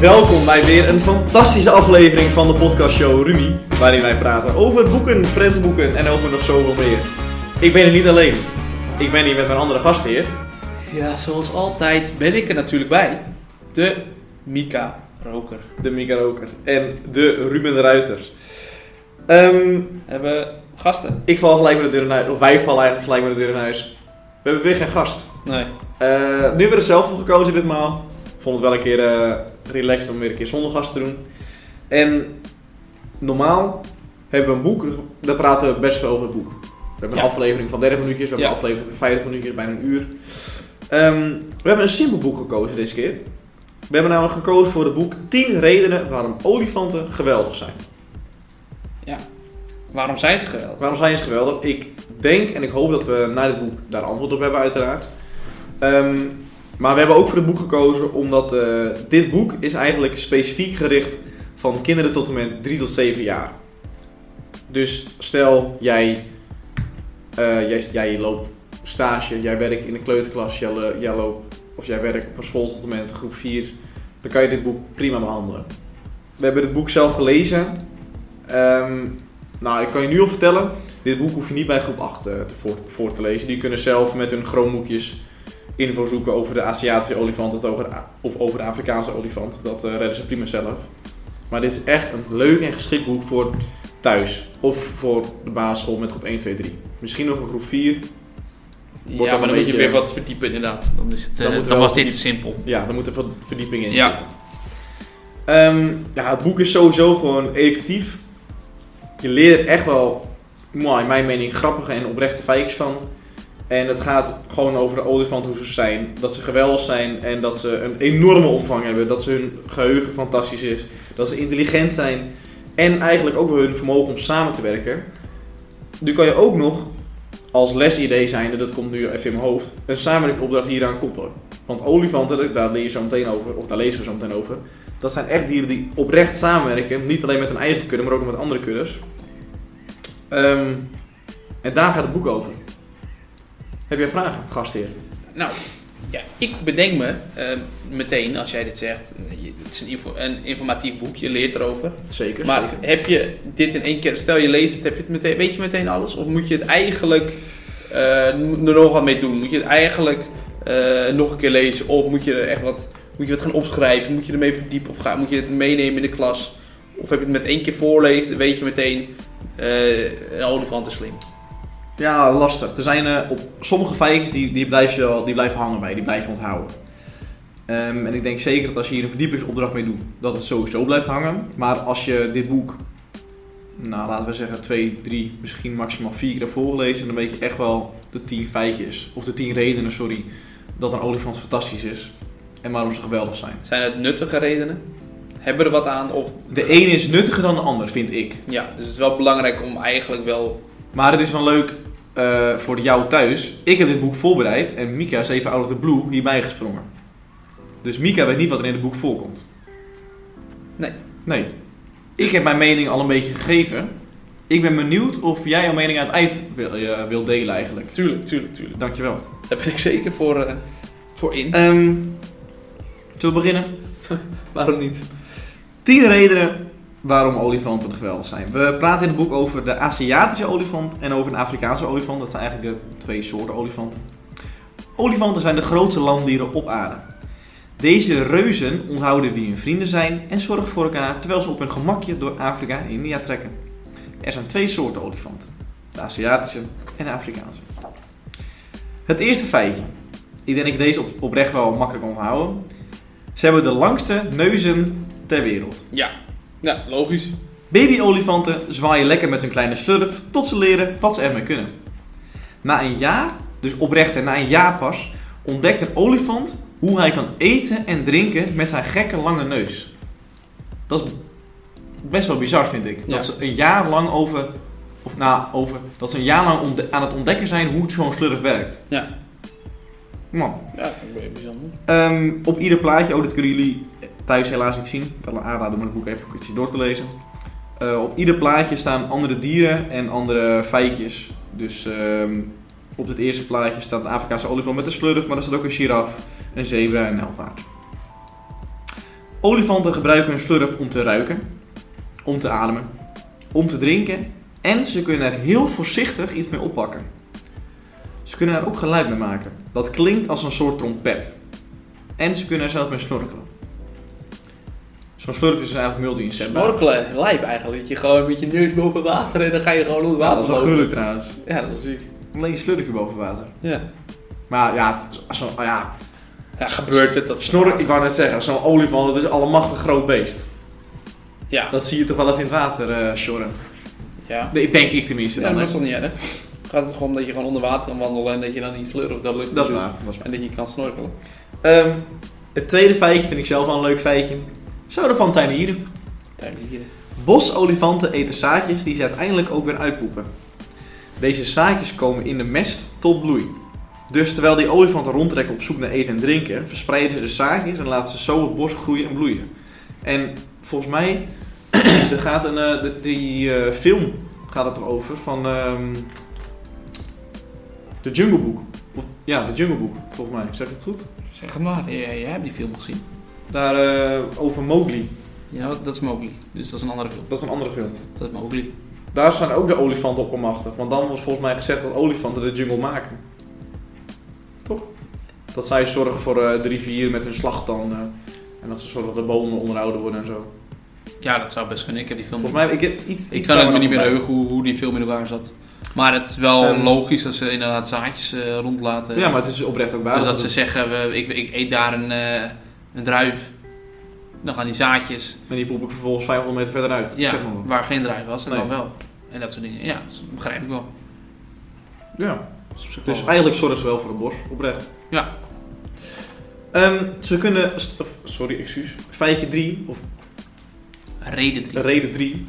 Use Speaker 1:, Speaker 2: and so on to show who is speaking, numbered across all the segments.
Speaker 1: Welkom bij weer een fantastische aflevering van de podcastshow Rumi, waarin wij praten over boeken, prentenboeken en over nog zoveel meer. Ik ben er niet alleen. Ik ben hier met mijn andere gastheer.
Speaker 2: Ja, zoals altijd ben ik er natuurlijk bij. De Mika Roker.
Speaker 1: de Mika Roker en de Ruben Ruiter. Ehm,
Speaker 2: Hebben we gasten?
Speaker 1: ik val gelijk met de deur in huis, of wij vallen eigenlijk gelijk met de deur in huis. We hebben weer geen gast.
Speaker 2: Nee.
Speaker 1: Eh, nu hebben we er zelf voor gekozen ditmaal. Ik vond het wel een keer eh, relaxed om weer een keer zonder gast te doen. En normaal hebben we een boek, daar praten we best veel over het boek. We hebben een
Speaker 2: Ja.
Speaker 1: aflevering van 30 minuutjes, we hebben
Speaker 2: Ja.
Speaker 1: een aflevering van 50 minuutjes, bijna een uur. Ehm, we hebben een simpel boek gekozen deze keer. We hebben namelijk gekozen voor het boek 10 redenen waarom olifanten geweldig zijn.
Speaker 2: Waarom zijn ze geweldig?
Speaker 1: Waarom zijn ze geweldig? Ik denk en ik hoop dat we na dit boek daar antwoord op hebben, uiteraard. Ehm, maar we hebben ook voor het boek gekozen omdat eh, dit boek is eigenlijk specifiek gericht van kinderen tot en met 3 tot 7 jaar. Dus stel, jij, eh, jij, jij loopt stage, jij werkt in een kleuterklas, jij, lo- jij loopt, of jij werkt op een school tot en met groep 4. Dan kan je dit boek prima behandelen. We hebben het boek zelf gelezen. Ehm, nou, ik kan je nu al vertellen, dit boek hoef je niet bij groep 8 eh, te voor, voor te lezen. Die kunnen zelf met hun groenboekjes info zoeken over de Aziatische olifant of over de, A- of over de Afrikaanse olifant. Dat eh, redden ze prima zelf. Maar dit is echt een leuk en geschikt boek voor thuis of voor de basisschool met groep 1, 2, 3. Misschien nog een groep 4.
Speaker 2: ja,
Speaker 1: een
Speaker 2: maar dan moet je
Speaker 1: beetje-
Speaker 2: weer wat verdiepen inderdaad. Dan, is het, eh,
Speaker 1: Dan moet
Speaker 2: dan,
Speaker 1: wel
Speaker 2: was dit te
Speaker 1: verdiepen.
Speaker 2: simpel.
Speaker 1: Ja, daar moet er wat verdieping in
Speaker 2: Ja.
Speaker 1: zitten. Ehm, ja, het boek is sowieso gewoon educatief. Je leert er echt wel, nou, in mijn mening, grappige en oprechte feitjes van. En het gaat gewoon over de olifant, hoe ze zijn. Dat ze geweldig zijn en dat ze een enorme omvang hebben. Dat ze hun geheugen fantastisch is. Dat ze intelligent zijn. En eigenlijk ook wel hun vermogen om samen te werken. Nu kan je ook nog, als lesidee zijnde, dat komt nu even in mijn hoofd, een samenwerkingsopdracht hieraan koppelen. Want olifanten, daar leer je zo meteen over, of daar lezen we zo meteen over. Dat zijn echt dieren die oprecht samenwerken. Niet alleen met hun eigen kudde, maar ook nog met andere kuddes. Ehm, en daar gaat het boek over. Heb jij vragen, gastheer?
Speaker 2: Nou, ja, ik bedenk me eh, meteen als jij dit zegt. eh, je- Het is een, info- een informatief boek, je leert erover.
Speaker 1: Zeker.
Speaker 2: Maar heb je dit in één keer, stel je leest het, heb je het meteen, weet je meteen alles? Of moet je het eigenlijk eh, er nog wat mee doen? Moet je het eigenlijk eh, nog een keer lezen? Of moet je er echt wat, moet je wat gaan opschrijven? Moet je ermee verdiepen? Of ga, moet je het meenemen in de klas? Of heb je het met één keer voorlezen, dan weet je meteen, eh een olifant is slim.
Speaker 1: Ja, lastig. Er zijn eh, op sommige feitjes die, die, blijf je wel, die blijven hangen bij, die blijf je onthouden. Ehm, en ik denk zeker dat als je hier een verdiepingsopdracht mee doet, dat het sowieso blijft hangen. Maar als je dit boek, nou laten we zeggen, twee, drie, misschien maximaal vier keer hebt voorgelezen, dan weet je echt wel de tien feitjes, of de tien redenen, sorry, dat een olifant fantastisch is en waarom ze geweldig zijn.
Speaker 2: Zijn het nuttige redenen? Hebben we er wat aan? Of,
Speaker 1: De een is nuttiger dan de ander, vind ik.
Speaker 2: ja, dus het is wel belangrijk om eigenlijk wel...
Speaker 1: Maar het is wel leuk eh, voor jou thuis. Ik heb dit boek voorbereid en Mika is even out of the blue hierbij gesprongen. Dus Mika weet niet wat er in het boek voorkomt.
Speaker 2: Nee.
Speaker 1: Nee. Ik heb mijn mening al een beetje gegeven. Ik ben benieuwd of jij jouw mening aan het eind wil, eh, wil delen eigenlijk.
Speaker 2: Tuurlijk, tuurlijk, tuurlijk.
Speaker 1: Dankjewel.
Speaker 2: Daar ben ik zeker voor, eh, voor in.
Speaker 1: Ehm zullen we beginnen?
Speaker 2: Waarom niet?
Speaker 1: 10 redenen waarom olifanten geweldig zijn. We praten in het boek over de Aziatische olifant en over een Afrikaanse olifant. Dat zijn eigenlijk de twee soorten olifanten. Olifanten zijn de grootste landdieren op aarde. Deze reuzen onthouden wie hun vrienden zijn en zorgen voor elkaar terwijl ze op hun gemakje door Afrika en India trekken. Er zijn twee soorten olifanten: de Aziatische en de Afrikaanse. Het eerste feitje. Ik denk dat je deze op, oprecht wel makkelijk onthouden. Ze hebben de langste neuzen ter wereld.
Speaker 2: Ja, ja logisch.
Speaker 1: Babyolifanten zwaaien lekker met hun kleine slurf tot ze leren wat ze ermee kunnen. Na een jaar, dus oprecht en na een jaar pas, ontdekt een olifant hoe hij kan eten en drinken met zijn gekke lange neus. Dat is best wel bizar vind ik.
Speaker 2: Ja.
Speaker 1: Dat ze een jaar lang over, of na over, dat ze een jaar lang ontde- aan het ontdekken zijn hoe zo'n slurf werkt.
Speaker 2: Ja.
Speaker 1: Man.
Speaker 2: Ja, dat vind ik wel bijzonder.
Speaker 1: Ehm, op ieder plaatje, oh, dat kunnen jullie thuis helaas niet zien. Ik wil aanraden om het boek even ietsje door te lezen. Eh, op ieder plaatje staan andere dieren en andere feitjes. Dus ehm, op het eerste plaatje staat een Afrikaanse olifant met een slurf, maar er staat ook een giraf, een zebra en een helpaard. Olifanten gebruiken hun slurf om te ruiken, om te ademen, om te drinken en ze kunnen er heel voorzichtig iets mee oppakken. Ze kunnen er ook geluid mee maken. Dat klinkt als een soort trompet. En ze kunnen er zelf mee snorkelen. Zo'n slurf is dus eigenlijk multi-inzetbaar.
Speaker 2: Snorkelen, lijp eigenlijk. Dat je gewoon met je neus boven water en dan ga je gewoon
Speaker 1: Ja,
Speaker 2: onder water
Speaker 1: dat is wel
Speaker 2: lopen.
Speaker 1: gruwelijk trouwens.
Speaker 2: Ja, dat is ziek.
Speaker 1: Alleen je slurfje boven water.
Speaker 2: Ja.
Speaker 1: Maar ja, zo, oh ja
Speaker 2: ja, gebeurt het. Dat
Speaker 1: snork, ik wou net zeggen, zo'n olifant, dat is een allemachtig groot beest.
Speaker 2: Ja.
Speaker 1: Dat zie je toch wel even in het water, eh sjorren.
Speaker 2: ja.
Speaker 1: Nee, denk ik tenminste.
Speaker 2: Ja, maar
Speaker 1: Dan,
Speaker 2: dat
Speaker 1: hè.
Speaker 2: is toch niet erg? Gaat het gewoon om dat je gewoon onder water kan wandelen en dat je dan niet slurft of dat lucht
Speaker 1: dat is
Speaker 2: doet.
Speaker 1: waar. Dat is waar.
Speaker 2: En dat je kan snorkelen.
Speaker 1: Ehm, het tweede feitje vind ik zelf wel een leuk feitje. Zouden van tuinieren.
Speaker 2: Tuinieren.
Speaker 1: Bosolifanten eten zaadjes die ze uiteindelijk ook weer uitpoepen. Deze zaadjes komen in de mest tot bloei. Dus terwijl die olifanten rondtrekken op zoek naar eten en drinken, verspreiden ze de zaadjes en laten ze zo het bos groeien en bloeien. En volgens mij, er gaat een, eh, de- die eh, film gaat het erover van ehm, de Jungle Book. Of, ja, de Jungle Book, volgens mij. Zeg ik het goed?
Speaker 2: Zeg het maar, jij, jij hebt die film gezien.
Speaker 1: Daar eh, over Mowgli.
Speaker 2: Ja, dat dat is Mowgli. Dus dat is een andere film.
Speaker 1: Dat is een andere film.
Speaker 2: Dat is Mowgli.
Speaker 1: Daar staan ook de olifanten op machtig. Want dan was volgens mij gezegd dat olifanten de jungle maken. Toch? Dat zij zorgen voor eh, de rivier met hun slagtanden. En dat ze zorgen dat de bomen onderhouden worden en zo.
Speaker 2: Ja, dat zou best kunnen. Ik heb die film
Speaker 1: Volgens mij, ik heb iets...
Speaker 2: Ik
Speaker 1: iets
Speaker 2: kan het me
Speaker 1: daar
Speaker 2: niet meer
Speaker 1: nog bij.
Speaker 2: heugen hoe, hoe die film in elkaar zat. Maar het is wel
Speaker 1: Ehm,
Speaker 2: logisch dat ze inderdaad zaadjes eh, rondlaten.
Speaker 1: Ja, maar het is oprecht ook waar.
Speaker 2: dus dat ze zeggen, we, ik, ik eet daar een, eh, een druif. Dan gaan die zaadjes,
Speaker 1: En die poep ik vervolgens 500 meter verder uit.
Speaker 2: ja,
Speaker 1: Zeg maar wat.
Speaker 2: waar geen druif was, en
Speaker 1: Nee.
Speaker 2: dan wel. En dat soort dingen. Ja, dat begrijp ik wel.
Speaker 1: Ja.
Speaker 2: Dat is op zich
Speaker 1: Dus
Speaker 2: wel-
Speaker 1: eigenlijk zorgen ze wel voor het bos. Oprecht.
Speaker 2: Ja.
Speaker 1: Ehm, ze kunnen... st- of, sorry, excuus. Feitje 3, of
Speaker 2: Reden drie.
Speaker 1: Reden 3.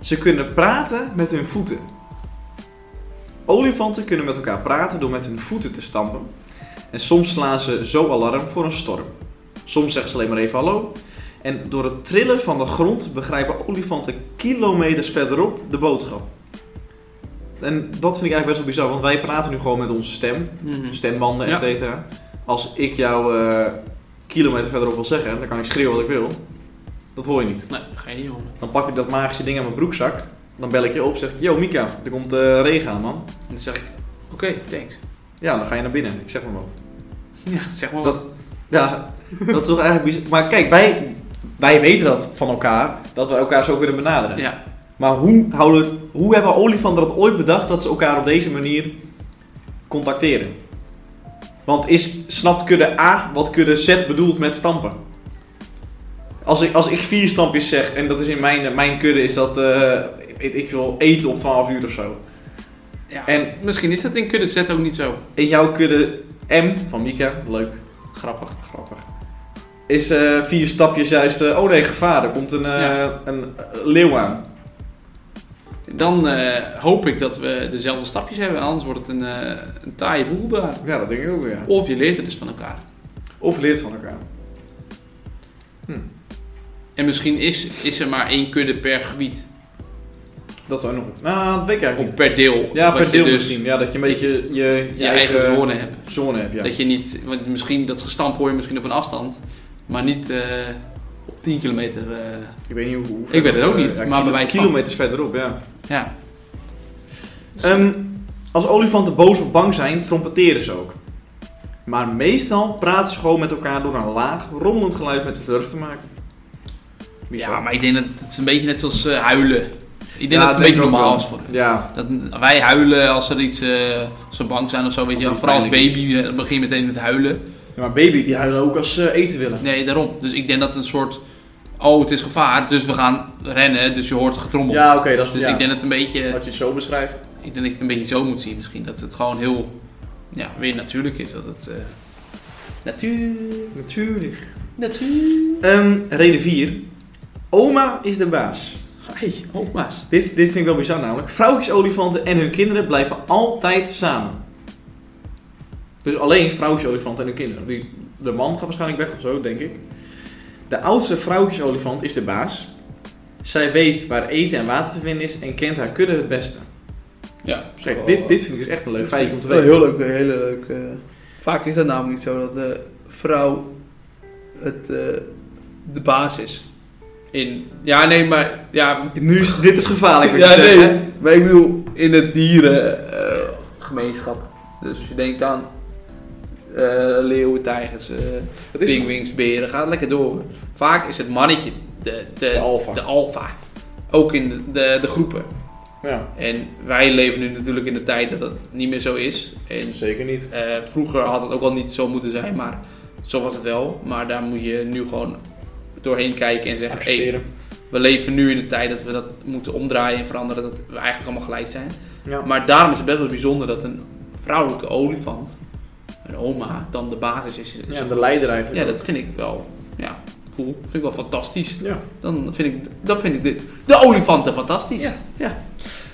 Speaker 1: Ze kunnen praten met hun voeten. Olifanten kunnen met elkaar praten door met hun voeten te stampen. En soms slaan ze zo alarm voor een storm. Soms zeggen ze alleen maar even hallo. En door het trillen van de grond begrijpen olifanten kilometers verderop de boodschap. En dat vind ik eigenlijk best wel bizar, want wij praten nu gewoon met onze stem,
Speaker 2: Mhm.
Speaker 1: stembanden,
Speaker 2: Ja.
Speaker 1: et cetera. Als ik jou eh, kilometer verderop wil zeggen, dan kan ik schreeuwen wat ik wil. Dat hoor je niet.
Speaker 2: Nee, dat Nou, ga je niet horen.
Speaker 1: Dan pak ik dat magische ding aan mijn broekzak. Dan bel ik je op, zeg ik, yo Mika, er komt eh, regen aan man.
Speaker 2: En dan zeg ik, oké, thanks.
Speaker 1: Ja, dan ga je naar binnen. Ik zeg maar wat.
Speaker 2: Ja, zeg maar
Speaker 1: Dat, ja, dat is toch eigenlijk bizar. Maar kijk, wij, wij weten dat van elkaar, dat we elkaar zo kunnen benaderen.
Speaker 2: wat. Ja,
Speaker 1: Maar hoe, houden, hoe hebben olifanten dat ooit bedacht dat ze elkaar op deze manier contacteren? Want is, snapt kudde A wat kudde Z bedoelt met stampen? Als ik, als ik vier stampjes zeg, en dat is in mijn, mijn kudde, is dat eh, ik, ik wil eten om 12 uur of zo.
Speaker 2: ja.
Speaker 1: En-
Speaker 2: En misschien is dat in kudde zet ook niet zo
Speaker 1: In jouw kudde M, van Mika, leuk,
Speaker 2: grappig.
Speaker 1: grappig, is eh, vier stapjes juist, eh, oh nee, gevaar, er komt een, eh,
Speaker 2: Ja.
Speaker 1: een eh, leeuw aan.
Speaker 2: Dan eh, hoop ik dat we dezelfde stapjes hebben, anders wordt het een, eh, een taaie boel daar.
Speaker 1: Ja, dat denk ik ook weer.
Speaker 2: Of je leert het dus van elkaar.
Speaker 1: Of leert van elkaar.
Speaker 2: En misschien is, is er maar één kudde per gebied.
Speaker 1: Dat zou nog. Nou, dat weet ik eigenlijk
Speaker 2: Of
Speaker 1: niet.
Speaker 2: per deel.
Speaker 1: Ja,
Speaker 2: Wat
Speaker 1: per
Speaker 2: je
Speaker 1: deel
Speaker 2: dus
Speaker 1: misschien. Ja, dat je een beetje je, je,
Speaker 2: Je eigen zone hebt.
Speaker 1: zone hebt. Ja.
Speaker 2: Dat je niet, want misschien dat gestamp hoor je misschien op een afstand, maar niet eh, op 10 kilometer. eh,
Speaker 1: Ik weet niet hoe. hoe
Speaker 2: Ik weet het ook niet, maar
Speaker 1: kilo-
Speaker 2: bij wijze van.
Speaker 1: Kilometers verderop, ja.
Speaker 2: ja.
Speaker 1: Ehm, als olifanten boos of bang zijn, trompetteren ze ook. Maar meestal praten ze gewoon met elkaar door een laag, rommelend geluid met de slurf te maken. Bizar.
Speaker 2: ja, maar ik denk dat het is een beetje net zoals eh, huilen. Ik denk dat het een
Speaker 1: denk
Speaker 2: beetje
Speaker 1: ik ook wel.
Speaker 2: normaal is voor hun.
Speaker 1: Ja,
Speaker 2: Dat wij huilen als er iets, eh als we bang zijn of zo, weet
Speaker 1: Als
Speaker 2: je wel.
Speaker 1: iets
Speaker 2: Vooral als
Speaker 1: pijnlijk
Speaker 2: baby eh, begin meteen met huilen.
Speaker 1: Ja, maar baby die huilen ook als ze eten willen.
Speaker 2: Nee, daarom. Dus ik denk dat het een soort, oh het is gevaar, dus we gaan rennen, dus je hoort getrommel.
Speaker 1: Ja, oké, dat is
Speaker 2: Dus
Speaker 1: ja. Oh,
Speaker 2: ik denk dat het een beetje...
Speaker 1: Als je het zo beschrijft.
Speaker 2: Ik denk dat je het een beetje zo moet zien misschien. Dat het gewoon heel, ja, weer natuurlijk is. Dat het, eh, natuur,
Speaker 1: Natuurlijk.
Speaker 2: natuur.
Speaker 1: Ehm, reden 4. Oma is de baas.
Speaker 2: Hey, oma's.
Speaker 1: Dit, dit vind ik wel bizar namelijk. Vrouwtjesolifanten en hun kinderen blijven altijd samen. Dus alleen vrouwtjesolifanten en hun kinderen. Die, de man gaat waarschijnlijk weg of zo, denk ik. De oudste vrouwtjesolifant is de baas. Zij weet waar eten en water te vinden is en kent haar kudde het beste.
Speaker 2: Ja,
Speaker 1: Kijk, dit, dit vind ik dus echt een leuk feitje om te
Speaker 2: Oh,
Speaker 3: Wel
Speaker 1: weten.
Speaker 3: heel leuk, een hele leuk. eh. Vaak is dat namelijk niet zo dat de vrouw het eh,
Speaker 2: de basis. In, ja, nee, maar ja,
Speaker 1: Nu is, dit is gevaarlijk wat je
Speaker 2: ja,
Speaker 1: zegt,
Speaker 2: nee.
Speaker 1: hè?
Speaker 2: Maar ik bedoel, in het dierengemeenschap. dus als je denkt aan eh, leeuwen, tijgers, eh
Speaker 1: Dat is
Speaker 2: pinguïns, beren, gaat lekker door. Vaak is het mannetje de, de,
Speaker 1: de alfa.
Speaker 2: de alfa. Ook in de, de, de groepen.
Speaker 1: Ja,
Speaker 2: En wij leven nu natuurlijk in de tijd dat dat niet meer zo is. En
Speaker 1: zeker niet.
Speaker 2: eh, vroeger had het ook al niet zo moeten zijn, maar zo was het wel. Maar daar moet je nu gewoon doorheen kijken en zeggen: hey,
Speaker 1: Accepteren.
Speaker 2: we leven nu in de tijd dat we dat moeten omdraaien en veranderen, dat we eigenlijk allemaal gelijk zijn.
Speaker 1: Ja.
Speaker 2: Maar daarom is het best wel bijzonder dat een vrouwelijke olifant, een oma, dan de basis is.
Speaker 1: Ja, de leider eigenlijk.
Speaker 2: Ja, dat vind ik wel ja, cool. Vind ik wel fantastisch.
Speaker 1: Ja.
Speaker 2: Dan vind ik, dan vind ik de, de olifanten fantastisch.
Speaker 1: Ja.
Speaker 2: ja.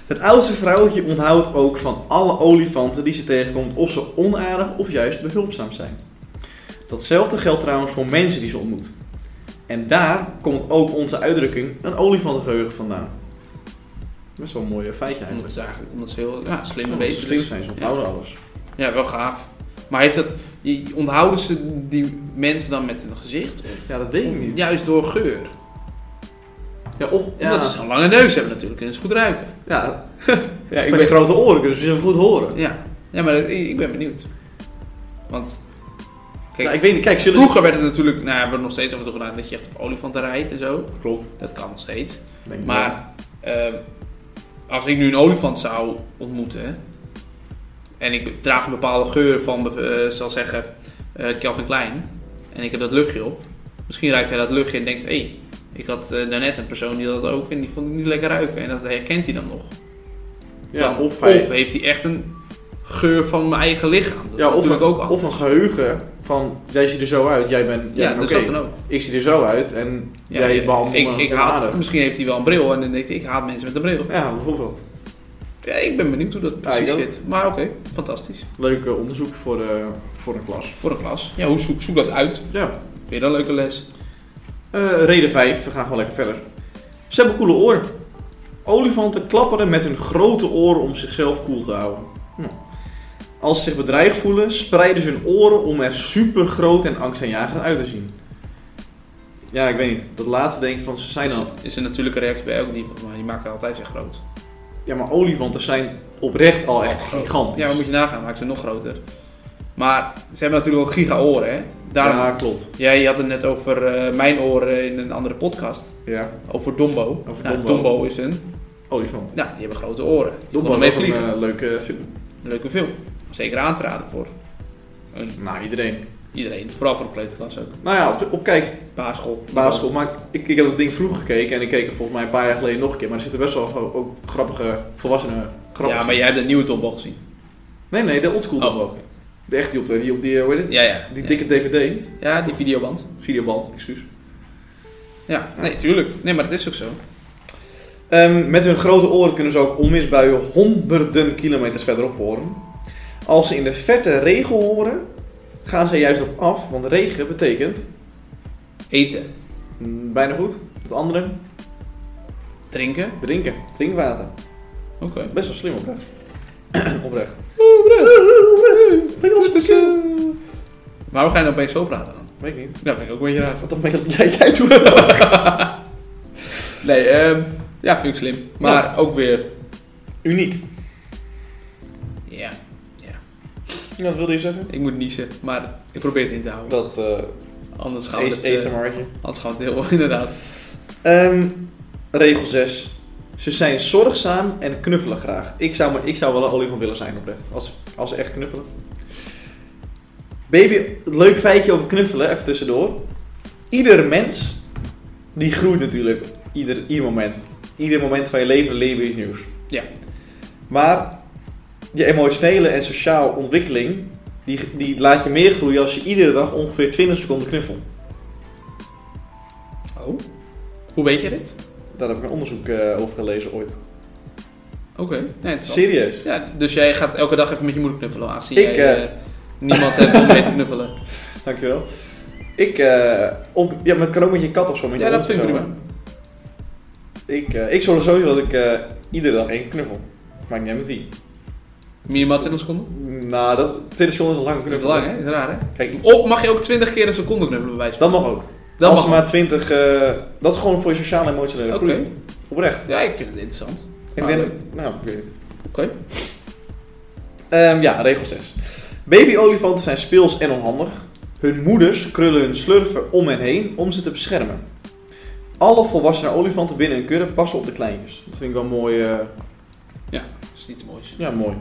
Speaker 1: Het oudste vrouwtje onthoudt ook van alle olifanten die ze tegenkomt of ze onaardig of juist behulpzaam zijn. Datzelfde geldt trouwens voor mensen die ze ontmoet. En daar komt ook onze uitdrukking een olifantengeheugen vandaan. Best wel een mooie feitje
Speaker 2: Omdat
Speaker 1: eigenlijk.
Speaker 2: ze eigenlijk omdat ze heel ja, slimme
Speaker 1: Omdat ze
Speaker 2: wezens
Speaker 1: slim zijn, ze onthouden alles.
Speaker 2: Ja, wel gaaf. Maar heeft dat, je- onthouden ze die mensen dan met hun gezicht?
Speaker 1: Ja, dat weet ik
Speaker 2: Of
Speaker 1: niet.
Speaker 2: juist door geur?
Speaker 1: Ja, of,
Speaker 2: Omdat ze
Speaker 1: ja,
Speaker 2: zo'n lange neus hebben natuurlijk, kunnen ze goed ruiken.
Speaker 1: ja,
Speaker 2: Ja,
Speaker 1: ik ben grote oren,
Speaker 2: dus
Speaker 1: kunnen ze heel goed horen.
Speaker 2: Ja, ja maar ik, ik ben benieuwd. Want, kijk,
Speaker 1: Nou, ik weet niet, kijk, zullen ze-
Speaker 2: vroeger werd het natuurlijk, nou ja, we hebben nog steeds af en toe gedaan dat je echt op olifanten rijdt en zo.
Speaker 1: Klopt.
Speaker 2: Dat kan nog steeds.
Speaker 1: Denk ik wel.
Speaker 2: Maar ehm, als ik nu een olifant zou ontmoeten en ik draag een bepaalde geur van, eh, zal zeggen, eh Calvin Klein en ik heb dat luchtje op, misschien ruikt hij dat luchtje en denkt, hé, hey, ik had eh, daarnet een persoon die dat ook en die vond het niet lekker ruiken en dat herkent hij dan nog.
Speaker 1: ja,
Speaker 2: Dan-
Speaker 1: of hij,
Speaker 2: heeft hij echt een geur van mijn eigen lichaam? Dat
Speaker 1: ja,
Speaker 2: is
Speaker 1: of, een,
Speaker 2: natuurlijk ook
Speaker 1: of een geheugen van, jij ziet er zo uit, jij bent, jij
Speaker 2: ja,
Speaker 1: bent
Speaker 2: dus
Speaker 1: oké.
Speaker 2: dat kan ook.
Speaker 1: ik zie er zo uit en jij behandelt
Speaker 2: ik,
Speaker 1: me
Speaker 2: ik haat,
Speaker 1: onaardig.
Speaker 2: Misschien heeft hij wel een bril en dan denkt hij, ik haat mensen met een bril.
Speaker 1: Ja, bijvoorbeeld.
Speaker 2: Ja, ik ben benieuwd hoe dat
Speaker 1: Ja, ik
Speaker 2: precies
Speaker 1: ook.
Speaker 2: zit. Maar oké, fantastisch.
Speaker 1: Leuk eh, onderzoek voor, de, voor een klas.
Speaker 2: Voor een klas. Ja, hoe zoek, zoek dat uit?
Speaker 1: Ja.
Speaker 2: Weer een leuke les.
Speaker 1: Eh, reden 5, we gaan gewoon lekker verder. Ze hebben koele oren. Olifanten klapperen met hun grote oren om zichzelf koel te houden. Hm. Als ze zich bedreigd voelen, spreiden ze hun oren om er super groot en angstaanjagend uit te zien. Ja, ik weet niet. Dat laatste denk ik van ze zijn
Speaker 2: is,
Speaker 1: al.
Speaker 2: is een natuurlijke reactie bij elk dier, volgens mij. Die maken altijd zich groot.
Speaker 1: Ja, maar olifanten zijn oprecht al echt
Speaker 2: Groot.
Speaker 1: gigantisch.
Speaker 2: Ja, maar moet je nagaan, maken ze nog groter. Maar ze hebben natuurlijk ook giga-oren, hè? Daarom,
Speaker 1: Ja, klopt.
Speaker 2: Jij had het net over eh, mijn oren in een andere podcast.
Speaker 1: Ja,
Speaker 2: Over Dombo.
Speaker 1: Over
Speaker 2: Nou,
Speaker 1: Dombo.
Speaker 2: is een...
Speaker 1: olifant.
Speaker 2: Nou, die hebben grote oren. Die
Speaker 1: Dombo
Speaker 2: konden mee
Speaker 1: is ook een
Speaker 2: vliegen.
Speaker 1: eh, leuke film.
Speaker 2: Een leuke film. Zeker aan te raden voor een,
Speaker 1: Nou, iedereen.
Speaker 2: iedereen. Vooral voor de kleuterklas ook.
Speaker 1: Nou ja, op, op kijk,
Speaker 2: Basisschool.
Speaker 1: basisschool. Maar ik, ik heb dat ding vroeg gekeken en ik keek er volgens mij een paar jaar geleden nog een keer. Maar er zitten best wel ook, ook grappige volwassenen grappen
Speaker 2: Ja, maar jij hebt de nieuwe Dombo gezien.
Speaker 1: Nee, nee, de oldschool.
Speaker 2: Oh.
Speaker 1: Oh. De echt die op, eh, die, op die, hoe heet het?
Speaker 2: Ja, ja.
Speaker 1: Die
Speaker 2: ja.
Speaker 1: dikke dvd.
Speaker 2: Ja, die videoband.
Speaker 1: Videoband, excuus.
Speaker 2: Ja,
Speaker 1: Ja.
Speaker 2: nee, tuurlijk. Nee, maar dat is ook zo.
Speaker 1: Ehm, met hun grote oren kunnen ze ook onmisbuien honderden kilometers verderop horen. Als ze in de verte regen horen, gaan ze er juist op af. Want regen betekent,
Speaker 2: Eten,
Speaker 1: mm, bijna goed, het andere,
Speaker 2: drinken.
Speaker 1: drinken. Drinkwater.
Speaker 2: Oké.
Speaker 1: Best wel slim oprecht. oprecht.
Speaker 2: Maar hoe ga je nou opeens zo praten dan?
Speaker 1: Weet ik niet.
Speaker 2: Dat vind ik ook een beetje raar.
Speaker 1: Wat dan ben je jij, jij doet het ook.
Speaker 2: Nee, ehm, ja, vind ik slim. Maar ook weer...
Speaker 1: Uniek.
Speaker 2: Ja,
Speaker 1: Ja, dat wilde je zeggen.
Speaker 2: ik moet niezen, maar ik probeer het in te houden.
Speaker 1: Dat eh
Speaker 2: Anders gaan we het, eh,
Speaker 1: Ace ASMR'tje.
Speaker 2: anders gaan we het heel... Inderdaad.
Speaker 1: Ehm regel 6. Ze zijn zorgzaam en knuffelen graag. Ik zou, maar, ik zou wel een olifant willen zijn oprecht. Als, als ze echt knuffelen. Baby, het leuk feitje over knuffelen, even tussendoor. Ieder mens, die groeit natuurlijk. Ieder, ieder moment. Ieder moment van je leven leer je iets nieuws.
Speaker 2: Ja.
Speaker 1: Maar je emotionele en sociale ontwikkeling, die, die laat je meer groeien als je iedere dag ongeveer 20 seconden knuffelt.
Speaker 2: Oh? Hoe weet je dit?
Speaker 1: Daar heb ik een onderzoek eh, over gelezen ooit.
Speaker 2: Oké. Nee, het is wel-
Speaker 1: Serieus?
Speaker 2: ja, dus jij gaat elke dag even met je moeder knuffelen, aangezien
Speaker 1: Ik,
Speaker 2: jij eh, niemand hebt om mee te knuffelen.
Speaker 1: Dankjewel. Ik, eh op, ja, maar het kan ook met je kat of zo. Met je
Speaker 2: Ja, dat
Speaker 1: hond
Speaker 2: vind ik
Speaker 1: of zo,
Speaker 2: prima.
Speaker 1: hè. Ik, eh, ik zorg sowieso dat ik eh, iedere dag één knuffel. Maakt niet uit met wie.
Speaker 2: Minimaal 20 seconden?
Speaker 1: Nou, dat, 20 seconden is een lange
Speaker 2: Dat is
Speaker 1: knuffel.
Speaker 2: lang, hè? Dat is raar, hè?
Speaker 1: Kijk,
Speaker 2: Of mag je ook 20 keer een seconde knuffelen bij wijze van
Speaker 1: dat mag ook.
Speaker 2: Dat
Speaker 1: als
Speaker 2: mag.
Speaker 1: maar 20, eh, dat is gewoon voor je sociale en emotionele
Speaker 2: Oké.
Speaker 1: groei. Oprecht.
Speaker 2: Ja, ik vind het interessant.
Speaker 1: Ik
Speaker 2: Ah,
Speaker 1: denk, nou, ik weet het.
Speaker 2: Oké.
Speaker 1: Ehm, ja, regel 6. Babyolifanten zijn speels en onhandig. Hun moeders krullen hun slurven om hen heen om ze te beschermen. Alle volwassene olifanten binnen hun kudde passen op de kleintjes. Dat vind ik wel mooi. eh,
Speaker 2: Dat is niet het mooiste.
Speaker 1: ja, mooi.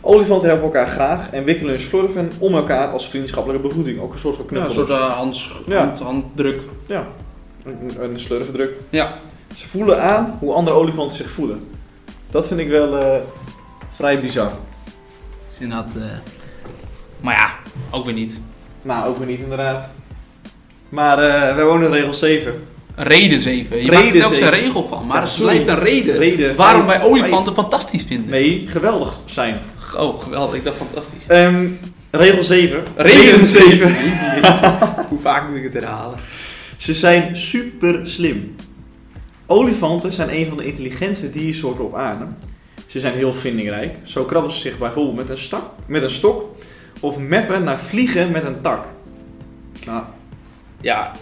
Speaker 1: Olifanten helpen elkaar graag en wikkelen hun slurven om elkaar als vriendschappelijke begroeting. Ook een soort van
Speaker 2: Ja, een
Speaker 1: knuffel.
Speaker 2: soort eh, hands,
Speaker 1: Ja.
Speaker 2: hand- handdruk.
Speaker 1: Een, een slurvendruk.
Speaker 2: Ja.
Speaker 1: Ze voelen aan hoe andere olifanten zich voelen. Dat vind ik wel eh, vrij bizar.
Speaker 2: Dat is inderdaad... eh, maar ja, ook weer niet.
Speaker 1: Nou, ook weer niet inderdaad. Maar eh wij wonen in regel 7.
Speaker 2: Een Reden 7. Je
Speaker 1: Reden
Speaker 2: maakt er telkens een
Speaker 1: zeven.
Speaker 2: regel van, maar
Speaker 1: Ja,
Speaker 2: het
Speaker 1: sorry.
Speaker 2: blijft een reden.
Speaker 1: Reden.
Speaker 2: Waarom
Speaker 1: Feit.
Speaker 2: wij olifanten fantastisch vinden.
Speaker 1: Nee, geweldig zijn.
Speaker 2: Oh, geweldig. Ik dacht fantastisch.
Speaker 1: Ehm, regel 7.
Speaker 2: Reden 7. Hoe vaak moet ik het herhalen?
Speaker 1: Ze zijn super slim. Olifanten zijn een van de intelligentste diersoorten op aarde. Ze zijn heel vindingrijk. Zo krabben ze zich bijvoorbeeld met een, stak, met een stok of meppen naar vliegen met een tak. Nou,
Speaker 2: Ja,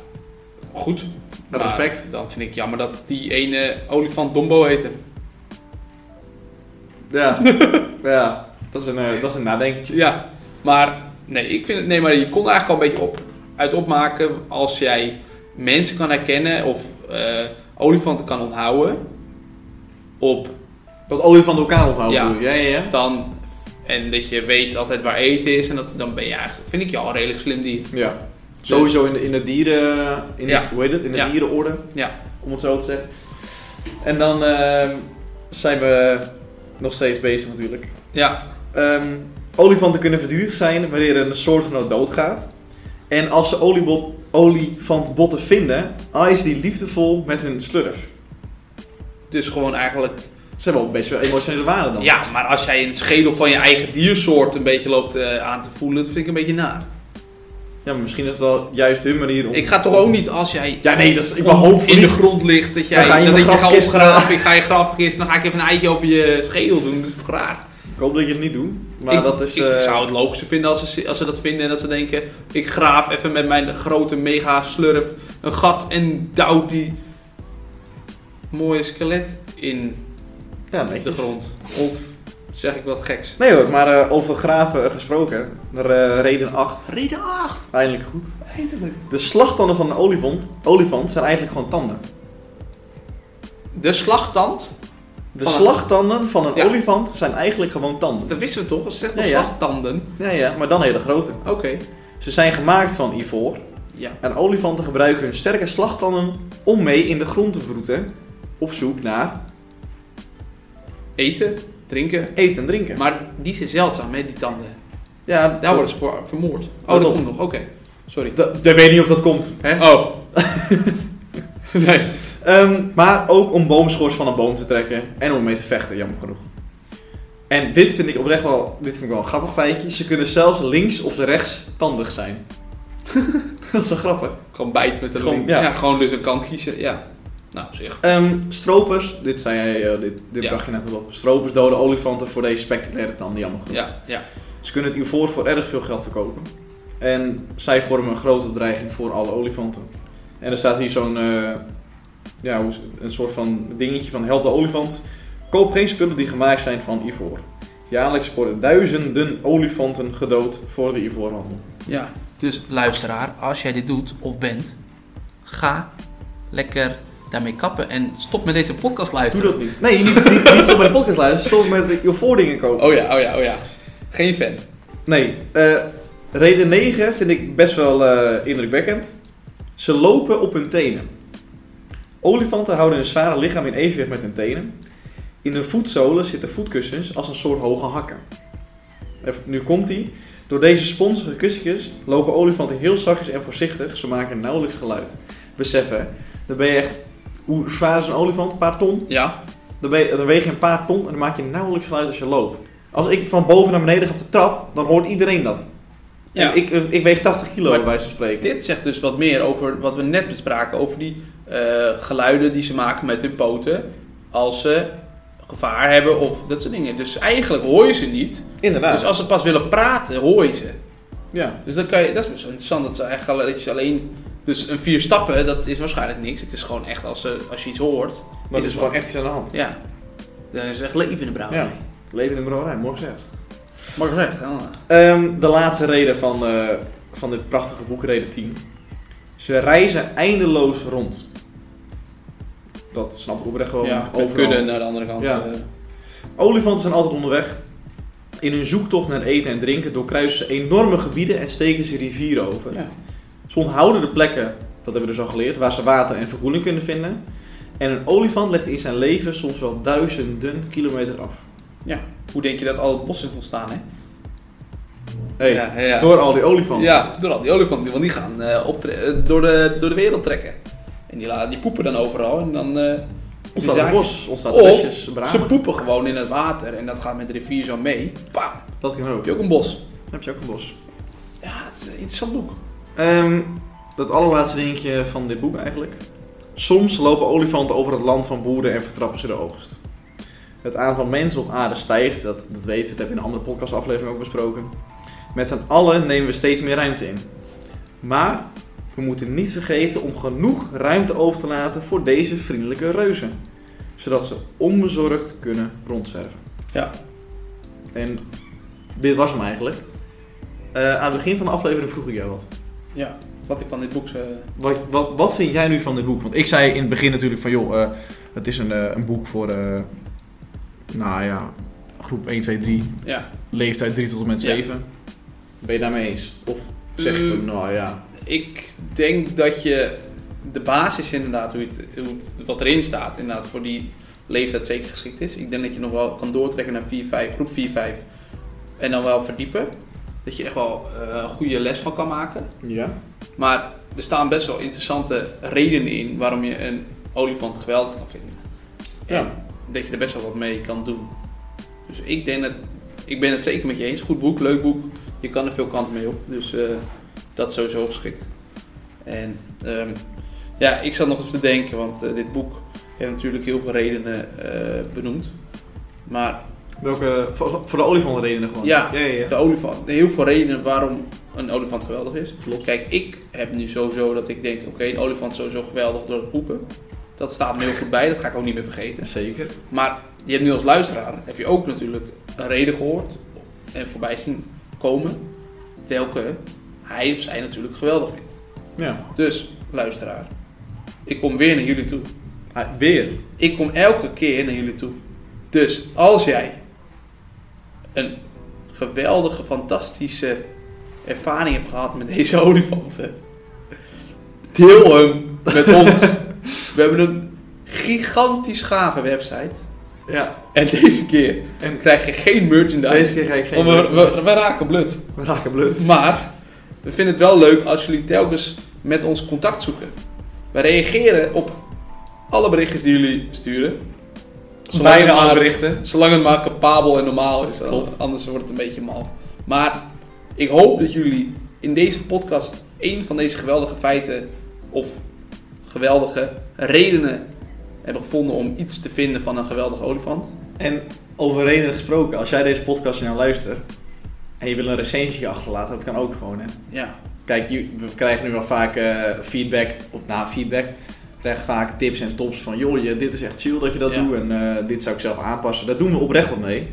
Speaker 2: goed. Maar
Speaker 1: respect.
Speaker 2: Dan vind ik jammer dat die ene olifant Dombo heette.
Speaker 1: Ja, ja dat, is een, eh, dat is een nadenkertje.
Speaker 2: Ja, maar nee, ik vind het, nee, maar je kon er eigenlijk al een beetje op, uit opmaken als jij mensen kan herkennen of eh, olifanten kan onthouden op
Speaker 1: Dat olifanten elkaar onthouden.
Speaker 2: Ja.
Speaker 1: bedoel je? ja, ja. ja.
Speaker 2: dan en dat je weet altijd waar eten is en dat dan ben je eigenlijk vind ik je al een redelijk slim dier.
Speaker 1: Ja. Sowieso in de, in de dieren... In de,
Speaker 2: Ja.
Speaker 1: Hoe heet het? In de
Speaker 2: Ja.
Speaker 1: dierenorde.
Speaker 2: Ja.
Speaker 1: Om het zo te zeggen. En dan ehm, zijn we nog steeds bezig natuurlijk.
Speaker 2: Ja,
Speaker 1: Ehm, olifanten kunnen verduurd zijn wanneer een soortgenoot doodgaat. En als ze oliebot, olifantbotten vinden, is die liefdevol met hun slurf.
Speaker 2: dus gewoon eigenlijk
Speaker 1: Ze hebben al best wel emotionele waarde dan.
Speaker 2: ja, maar als jij een schedel van je eigen diersoort een beetje loopt eh, aan te voelen, dat vind ik een beetje naar.
Speaker 1: Ja, maar misschien is het wel juist hun manier om...
Speaker 2: Ik ga toch ook niet als jij
Speaker 1: Ja, nee, dat is, ik ben hoop
Speaker 2: in de grond ligt, dat jij
Speaker 1: Dan ga je
Speaker 2: dat
Speaker 1: mijn
Speaker 2: ik je gaat
Speaker 1: grafkist
Speaker 2: opgraven, ik ga je grafkist, dan ga ik even een eitje over je schedel doen, dat is toch raar.
Speaker 1: Ik hoop dat je het niet doet, maar
Speaker 2: ik,
Speaker 1: dat is...
Speaker 2: ik
Speaker 1: eh,
Speaker 2: zou het logischer vinden als ze, als ze dat vinden en dat ze denken, ik graaf even met mijn grote mega slurf een gat en douw die mooie skelet in
Speaker 1: ja,
Speaker 2: de
Speaker 1: netjes.
Speaker 2: grond. Of zeg ik wat geks.
Speaker 1: Nee hoor, maar eh, over graven gesproken. Er, eh, reden 8,
Speaker 2: Reden 8,
Speaker 1: eindelijk goed.
Speaker 2: eindelijk.
Speaker 1: De slagtanden van een olifant, olifant zijn eigenlijk gewoon tanden.
Speaker 2: De slagtand,
Speaker 1: De
Speaker 2: Van een-
Speaker 1: slagtanden van een
Speaker 2: Ja.
Speaker 1: olifant zijn eigenlijk gewoon tanden.
Speaker 2: dat wisten we toch, ze zegt al
Speaker 1: Ja, ja.
Speaker 2: slagtanden.
Speaker 1: Ja, ja, maar dan hele grote.
Speaker 2: Oké,
Speaker 1: Ze zijn gemaakt van ivoor.
Speaker 2: ja.
Speaker 1: En olifanten gebruiken hun sterke slagtanden om mee in de grond te vroeten. Op zoek naar
Speaker 2: Eten, drinken,
Speaker 1: eten en drinken.
Speaker 2: Maar die zijn zeldzaam, hè, die tanden.
Speaker 1: ja,
Speaker 2: Daar worden ze voor vermoord. Oh,
Speaker 1: Let
Speaker 2: dat
Speaker 1: op.
Speaker 2: komt nog. Oké. Sorry.
Speaker 1: dat, dat weet ik niet of dat komt. Hè?
Speaker 2: Oh. nee.
Speaker 1: Ehm, maar ook om boomschors van een boom te trekken en om mee te vechten, jammer genoeg. En dit vind ik oprecht wel, dit vind ik wel een grappig feitje. Ze kunnen zelfs links of rechts tandig zijn. dat is wel grappig.
Speaker 2: Gewoon bijten met de
Speaker 1: Gewoon,
Speaker 2: link.
Speaker 1: ja.
Speaker 2: Ja. gewoon dus een kant kiezen. Ja. Nou, op zich.
Speaker 1: Ehm, stropers, dit zei jij, eh, dit, dit
Speaker 2: Ja.
Speaker 1: bracht je net al op. Stropers doden olifanten voor deze spectaculaire tanden, jammer genoeg.
Speaker 2: Ja, ja.
Speaker 1: Ze kunnen het ivoor voor erg veel geld verkopen. En zij vormen een grote bedreiging voor alle olifanten. En er staat hier zo'n, eh, ja, hoe is het? een soort van dingetje van help de olifant. Koop geen spullen die gemaakt zijn van ivoor. Jaarlijks worden duizenden olifanten gedood voor de ivoorhandel.
Speaker 2: Ja. Dus luisteraar, als jij dit doet of bent, ga lekker daarmee kappen en stop met deze podcast
Speaker 1: Doe
Speaker 2: luisteren.
Speaker 1: dat niet. Nee, niet, niet, niet stop met de podcast luisteren. Stop met de ivoordingen kopen.
Speaker 2: Oh ja, oh ja, oh ja. Geen fan.
Speaker 1: Nee, eh, reden 9 vind ik best wel eh, indrukwekkend. Ze lopen op hun tenen. Olifanten houden hun zware lichaam in evenwicht met hun tenen. In hun voetzolen zitten voetkussens als een soort hoge hakken. Even- nu komt die. Door deze sponsige kussentjes lopen olifanten heel zachtjes en voorzichtig. Ze maken nauwelijks geluid. Beseffen, dan ben je echt... Hoe zwaar is een olifant? Een paar ton?
Speaker 2: Ja.
Speaker 1: Dan, ben je- dan weeg je een paar ton en dan maak je nauwelijks geluid als je loopt. Als ik van boven naar beneden ga op de trap, dan hoort iedereen dat.
Speaker 2: Ja.
Speaker 1: En ik, eh, ik weeg 80 kilo,
Speaker 2: Maar-
Speaker 1: bij wijze van spreken.
Speaker 2: Dit zegt dus wat meer over wat we net bespraken, over die eh, geluiden die ze maken met hun poten als ze gevaar hebben of dat soort dingen. Dus eigenlijk hoor je ze niet.
Speaker 1: Inderdaad.
Speaker 2: Dus als ze pas willen praten, hoor je ze.
Speaker 1: ja.
Speaker 2: Dus dat, kan je, dat is best wel interessant dat, ze eigenlijk, al- dat je ze alleen Dus een vier stappen, dat is waarschijnlijk niks. Het is gewoon echt als, eh, als je iets hoort.
Speaker 1: Maar
Speaker 2: Is
Speaker 1: het is
Speaker 2: het
Speaker 1: gewoon echt iets aan de hand.
Speaker 2: Ja. Dan is het echt leven in de brouwerij.
Speaker 1: Ja. Leven in de brouwerij, morgen zes.
Speaker 2: Maar gezegd, dan.
Speaker 1: Ehm, de laatste reden van, eh, van dit prachtige boek, reden 10. Ze reizen eindeloos rond. Dat snap ik oprecht wel.
Speaker 2: ja,
Speaker 1: want
Speaker 2: we
Speaker 1: overal-
Speaker 2: kunnen naar de andere kant.
Speaker 1: Ja.
Speaker 2: eh,
Speaker 1: Olifanten zijn altijd onderweg. In hun zoektocht naar eten en drinken doorkruisen ze enorme gebieden en steken ze rivieren over.
Speaker 2: ja.
Speaker 1: Ze onthouden de plekken, dat hebben we dus al geleerd, waar ze water en verkoeling kunnen vinden. En een olifant legt in zijn leven soms wel duizenden kilometer af.
Speaker 2: Hoe denk je dat al het bos is ontstaan, hè?
Speaker 1: Hey,
Speaker 2: ja, ja.
Speaker 1: Door al die olifanten.
Speaker 2: Ja, door al die olifanten. Want die gaan eh, optre- eh, door, de, door de wereld trekken. En die, la- die poepen dan overal. En dan eh,
Speaker 1: Ontstaat
Speaker 2: die
Speaker 1: Dus een
Speaker 2: zaak-
Speaker 1: bos, ontstaat
Speaker 2: Of
Speaker 1: besjes, bramen.
Speaker 2: Ze poepen gewoon in het water. En dat gaat met de rivier zo mee. Bam, heb
Speaker 1: Dat kan ook.
Speaker 2: je ook een bos.
Speaker 1: Dan heb je ook een bos.
Speaker 2: Ja, het is een interessant boek.
Speaker 1: Ehm, dat allerlaatste dingetje van dit boek eigenlijk. Soms lopen olifanten over het land van boeren en vertrappen ze de oogst. Het aantal mensen op aarde stijgt, dat, dat weten we, dat heb je in een andere podcastaflevering ook besproken. Met z'n allen nemen we steeds meer ruimte in. Maar we moeten niet vergeten om genoeg ruimte over te laten voor deze vriendelijke reuzen. Zodat ze onbezorgd kunnen rondzwerven.
Speaker 2: Ja.
Speaker 1: En dit was hem eigenlijk. Eh, aan het begin van de aflevering vroeg ik jou wat.
Speaker 2: Ja, wat ik van dit boek... eh,
Speaker 1: Wat, wat, wat vind jij nu van dit boek? Want ik zei in het begin natuurlijk van, joh, eh, het is een, eh, een boek voor, eh, nou ja, groep 1, 2, 3,
Speaker 2: ja.
Speaker 1: leeftijd 3 tot en met
Speaker 2: Ja.
Speaker 1: 7. Ben je daarmee eens? Of zeg je van,
Speaker 2: Mm.
Speaker 1: nou ja.
Speaker 2: Ik denk dat je de basis inderdaad, hoe het, hoe het- wat erin staat, inderdaad voor die leeftijd zeker geschikt is. Ik denk dat je nog wel kan doortrekken naar 4-5, groep 4-5. En dan wel verdiepen. Dat je echt wel eh, een goede les van kan maken.
Speaker 1: Ja?
Speaker 2: Maar er staan best wel interessante redenen in waarom je een olifant geweldig kan vinden. En
Speaker 1: Ja.
Speaker 2: dat je er best wel wat mee kan doen. Dus ik denk dat, ik ben het zeker met je eens. Goed boek, leuk boek. Je kan er veel kanten mee op. Dus eh, dat is sowieso geschikt. En ehm, ja, ik zat nog eens te denken, want eh, dit boek heeft natuurlijk heel veel redenen eh, benoemd. Maar
Speaker 1: Welke, voor, voor de olifantenredenen gewoon?
Speaker 2: Ja.
Speaker 1: ja, ja.
Speaker 2: de olifant. Heel veel redenen waarom een olifant geweldig is.
Speaker 1: Klopt.
Speaker 2: Kijk, ik heb nu sowieso dat ik denk, oké, een olifant is sowieso geweldig door het poepen. Dat staat me heel goed bij, dat ga ik ook niet meer vergeten.
Speaker 1: Zeker.
Speaker 2: Maar je hebt nu als luisteraar, heb je ook natuurlijk een reden gehoord en voorbij zien komen welke hij of zij natuurlijk geweldig vindt.
Speaker 1: Ja.
Speaker 2: Dus, luisteraar, ik kom weer naar jullie toe.
Speaker 1: Ah, weer.
Speaker 2: Ik kom elke keer naar jullie toe. Dus als jij een geweldige, fantastische ervaring hebt gehad met deze olifanten, deel hem met ons. We hebben een gigantisch gave website.
Speaker 1: Ja.
Speaker 2: En deze keer
Speaker 1: En
Speaker 2: krijg je geen merchandise.
Speaker 1: deze keer ga ik geen...
Speaker 2: want we, we, we raken blut.
Speaker 1: We raken blut.
Speaker 2: Maar we vinden het wel leuk als jullie telkens met ons contact zoeken. We reageren op alle berichtjes die jullie sturen.
Speaker 1: Bijna
Speaker 2: het
Speaker 1: alle
Speaker 2: maar-
Speaker 1: berichten.
Speaker 2: Zolang het maar capabel en normaal is. eh,
Speaker 1: Klopt.
Speaker 2: Anders wordt het een beetje mal. Maar ik hoop dat jullie in deze podcast één van deze geweldige feiten of geweldige redenen hebben gevonden om iets te vinden van een geweldige olifant.
Speaker 1: En over redenen gesproken, als jij deze podcast nou luistert en je wil een recensie achterlaten, dat kan ook gewoon, hè.
Speaker 2: Ja,
Speaker 1: Kijk, je- we krijgen nu wel vaak eh, feedback, of na feedback, we krijgen vaak tips en tops van, joh, je- dit is echt chill dat je dat
Speaker 2: Ja.
Speaker 1: doet en eh, dit zou ik zelf aanpassen. Daar doen we oprecht wat mee.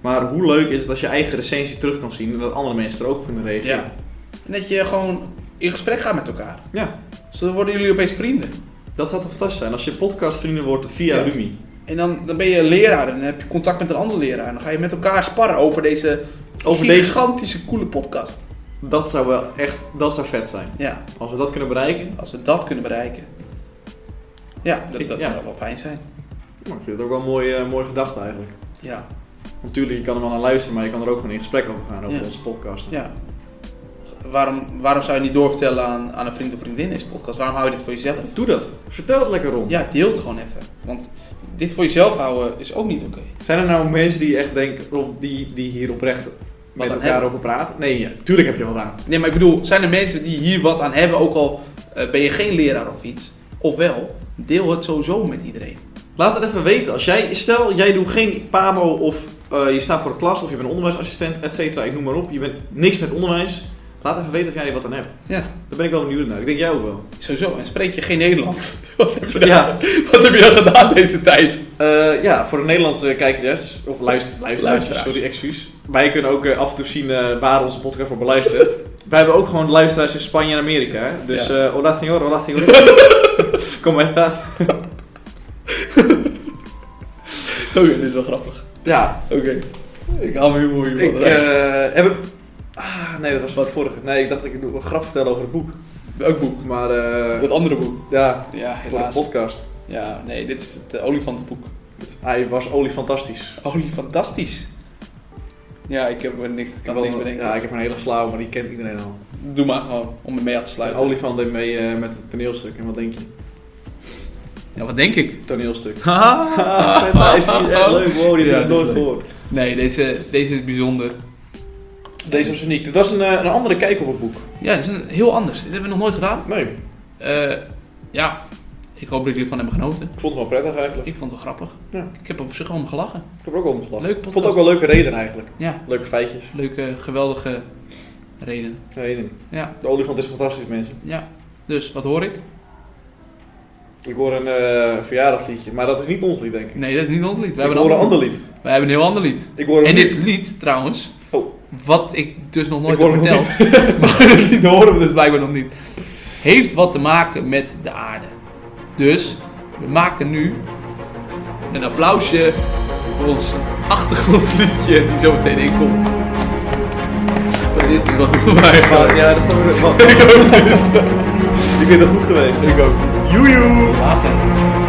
Speaker 1: Maar hoe leuk is het als je eigen recensie terug kan zien en dat andere mensen er ook op kunnen reageren.
Speaker 2: Ja. En dat je gewoon in gesprek gaat met elkaar.
Speaker 1: Ja.
Speaker 2: Zo worden jullie opeens vrienden.
Speaker 1: Dat zou toch fantastisch zijn, als je podcastvrienden wordt via
Speaker 2: Ja.
Speaker 1: Rumi.
Speaker 2: En dan, dan ben je leraar en dan heb je contact met een andere leraar. En dan ga je met elkaar sparren over deze
Speaker 1: Over deze,
Speaker 2: gigantische coole podcast.
Speaker 1: dat zou wel echt, dat zou vet zijn.
Speaker 2: Ja,
Speaker 1: Als we dat kunnen bereiken,
Speaker 2: als we dat kunnen bereiken. Ja, dat,
Speaker 1: Ik-
Speaker 2: dat
Speaker 1: ja.
Speaker 2: zou wel fijn zijn.
Speaker 1: nou, ik vind het ook wel een mooie, eh, mooie gedachte eigenlijk.
Speaker 2: Ja,
Speaker 1: Natuurlijk, je kan er wel naar luisteren, maar je kan er ook gewoon in gesprek over gaan, over
Speaker 2: Ja.
Speaker 1: onze podcast.
Speaker 2: ja. Waarom, waarom zou je niet doorvertellen aan, aan een vriend of vriendin deze podcast? Waarom hou je dit voor jezelf?
Speaker 1: Doe dat. Vertel het lekker rond.
Speaker 2: Ja, deel het gewoon even. Want dit voor jezelf houden is ook niet oké.
Speaker 1: Zijn er nou mensen die echt denken, of die, die hier oprecht met
Speaker 2: aan
Speaker 1: elkaar
Speaker 2: hebben?
Speaker 1: over praten? Nee, ja, tuurlijk heb je wat aan.
Speaker 2: Nee, maar ik bedoel, zijn er mensen die hier wat aan hebben, ook al eh, ben je geen leraar of iets? Ofwel, deel het sowieso met iedereen.
Speaker 1: Laat het even weten. Als jij, stel, jij doet geen PAMO of eh, je staat voor de klas of je bent onderwijsassistent, et cetera, ik noem maar op. Je bent niks met onderwijs. Laat even weten of jij wat aan hebt.
Speaker 2: Ja.
Speaker 1: Daar ben ik wel benieuwd naar. Ik denk jij ook wel.
Speaker 2: Sowieso, en spreek je geen Nederlands? Wat heb je dan,
Speaker 1: Ja.
Speaker 2: wat heb je dan gedaan deze tijd?
Speaker 1: Eh, ja, voor de Nederlandse kijkers, of luister, luisteraars,
Speaker 2: Luisteraars.
Speaker 1: sorry, excuus. Wij kunnen ook eh, af en toe zien eh, waar onze podcast voor beluisterd. Wij hebben ook gewoon luisteraars in Spanje en Amerika. hè. Dus eh hola señor, hola señor. Kom maar.
Speaker 2: Oké, Oh dit is wel grappig.
Speaker 1: Ja,
Speaker 2: Oké. Ik haal mijn humor
Speaker 1: ik
Speaker 2: hiervan eruit.
Speaker 1: eh, heb... een- Ah, nee, dat was wat vorige. Nee, ik dacht dat ik een grap vertellen over het boek.
Speaker 2: Welk boek?
Speaker 1: Maar eh,
Speaker 2: Dat andere boek.
Speaker 1: ja,
Speaker 2: Ja,
Speaker 1: voor de
Speaker 2: helaas.
Speaker 1: podcast.
Speaker 2: Ja, nee, dit is het eh, olifantenboek.
Speaker 1: Hij was oliefantastisch.
Speaker 2: Olifantastisch. Ja, ik heb er niks, ik kan
Speaker 1: Wel-
Speaker 2: niks bedenken.
Speaker 1: Ja, ik heb een hele flauw, maar die kent iedereen al.
Speaker 2: Doe maar gewoon, om me mee af te
Speaker 1: Een
Speaker 2: sluiten.
Speaker 1: olifant deed mee eh, met het toneelstuk. En wat denk je?
Speaker 2: Ja, wat denk ik?
Speaker 1: Toneelstuk.
Speaker 2: Haha.
Speaker 1: Ah, is die echt leuk. Wow, die
Speaker 2: Oh. Ja,
Speaker 1: heb ik
Speaker 2: die is
Speaker 1: nooit
Speaker 2: leuk.
Speaker 1: gehoord.
Speaker 2: Nee, deze, deze is bijzonder.
Speaker 1: Deze was uniek. Dit was een, eh, een andere kijk op het boek.
Speaker 2: Ja, dit is een, heel anders. Dit hebben we nog nooit gedaan.
Speaker 1: Nee,
Speaker 2: Eh, ja, ik hoop dat jullie ervan hebben genoten.
Speaker 1: ik vond het wel prettig eigenlijk.
Speaker 2: Ik vond het wel grappig.
Speaker 1: Ja.
Speaker 2: Ik heb op zich gewoon om gelachen.
Speaker 1: Ik heb er ook om gelachen.
Speaker 2: Leuk
Speaker 1: Ik vond het ook
Speaker 2: podcast.
Speaker 1: wel leuke reden eigenlijk.
Speaker 2: Ja,
Speaker 1: Leuke feitjes.
Speaker 2: leuke, geweldige reden.
Speaker 1: Reden.
Speaker 2: Ja,
Speaker 1: De olifant is fantastisch, mensen.
Speaker 2: ja. Dus, wat hoor ik?
Speaker 1: Ik hoor een eh, verjaardagsliedje, maar dat is niet ons lied, denk ik.
Speaker 2: Nee, dat is niet ons lied. We
Speaker 1: ik
Speaker 2: hebben
Speaker 1: hoor een
Speaker 2: ander-
Speaker 1: ander lied.
Speaker 2: Wij hebben een heel ander lied.
Speaker 1: Ik hoor
Speaker 2: En
Speaker 1: hem
Speaker 2: dit
Speaker 1: niet.
Speaker 2: lied trouwens,
Speaker 1: Oh.
Speaker 2: wat ik dus nog nooit
Speaker 1: Ik
Speaker 2: heb
Speaker 1: hoor hem nog
Speaker 2: verteld, maar dit lied horen we dus blijkbaar nog niet, heeft wat te maken met de aarde. Dus we maken nu een applausje voor ons achtergrondliedje die zo meteen inkomt. Wat is dit? Wat doen wij?
Speaker 1: Maar, ja, dat snap ik. Wat? ik ben er goed geweest.
Speaker 2: Ik ook.
Speaker 1: Joejoe!
Speaker 2: Later.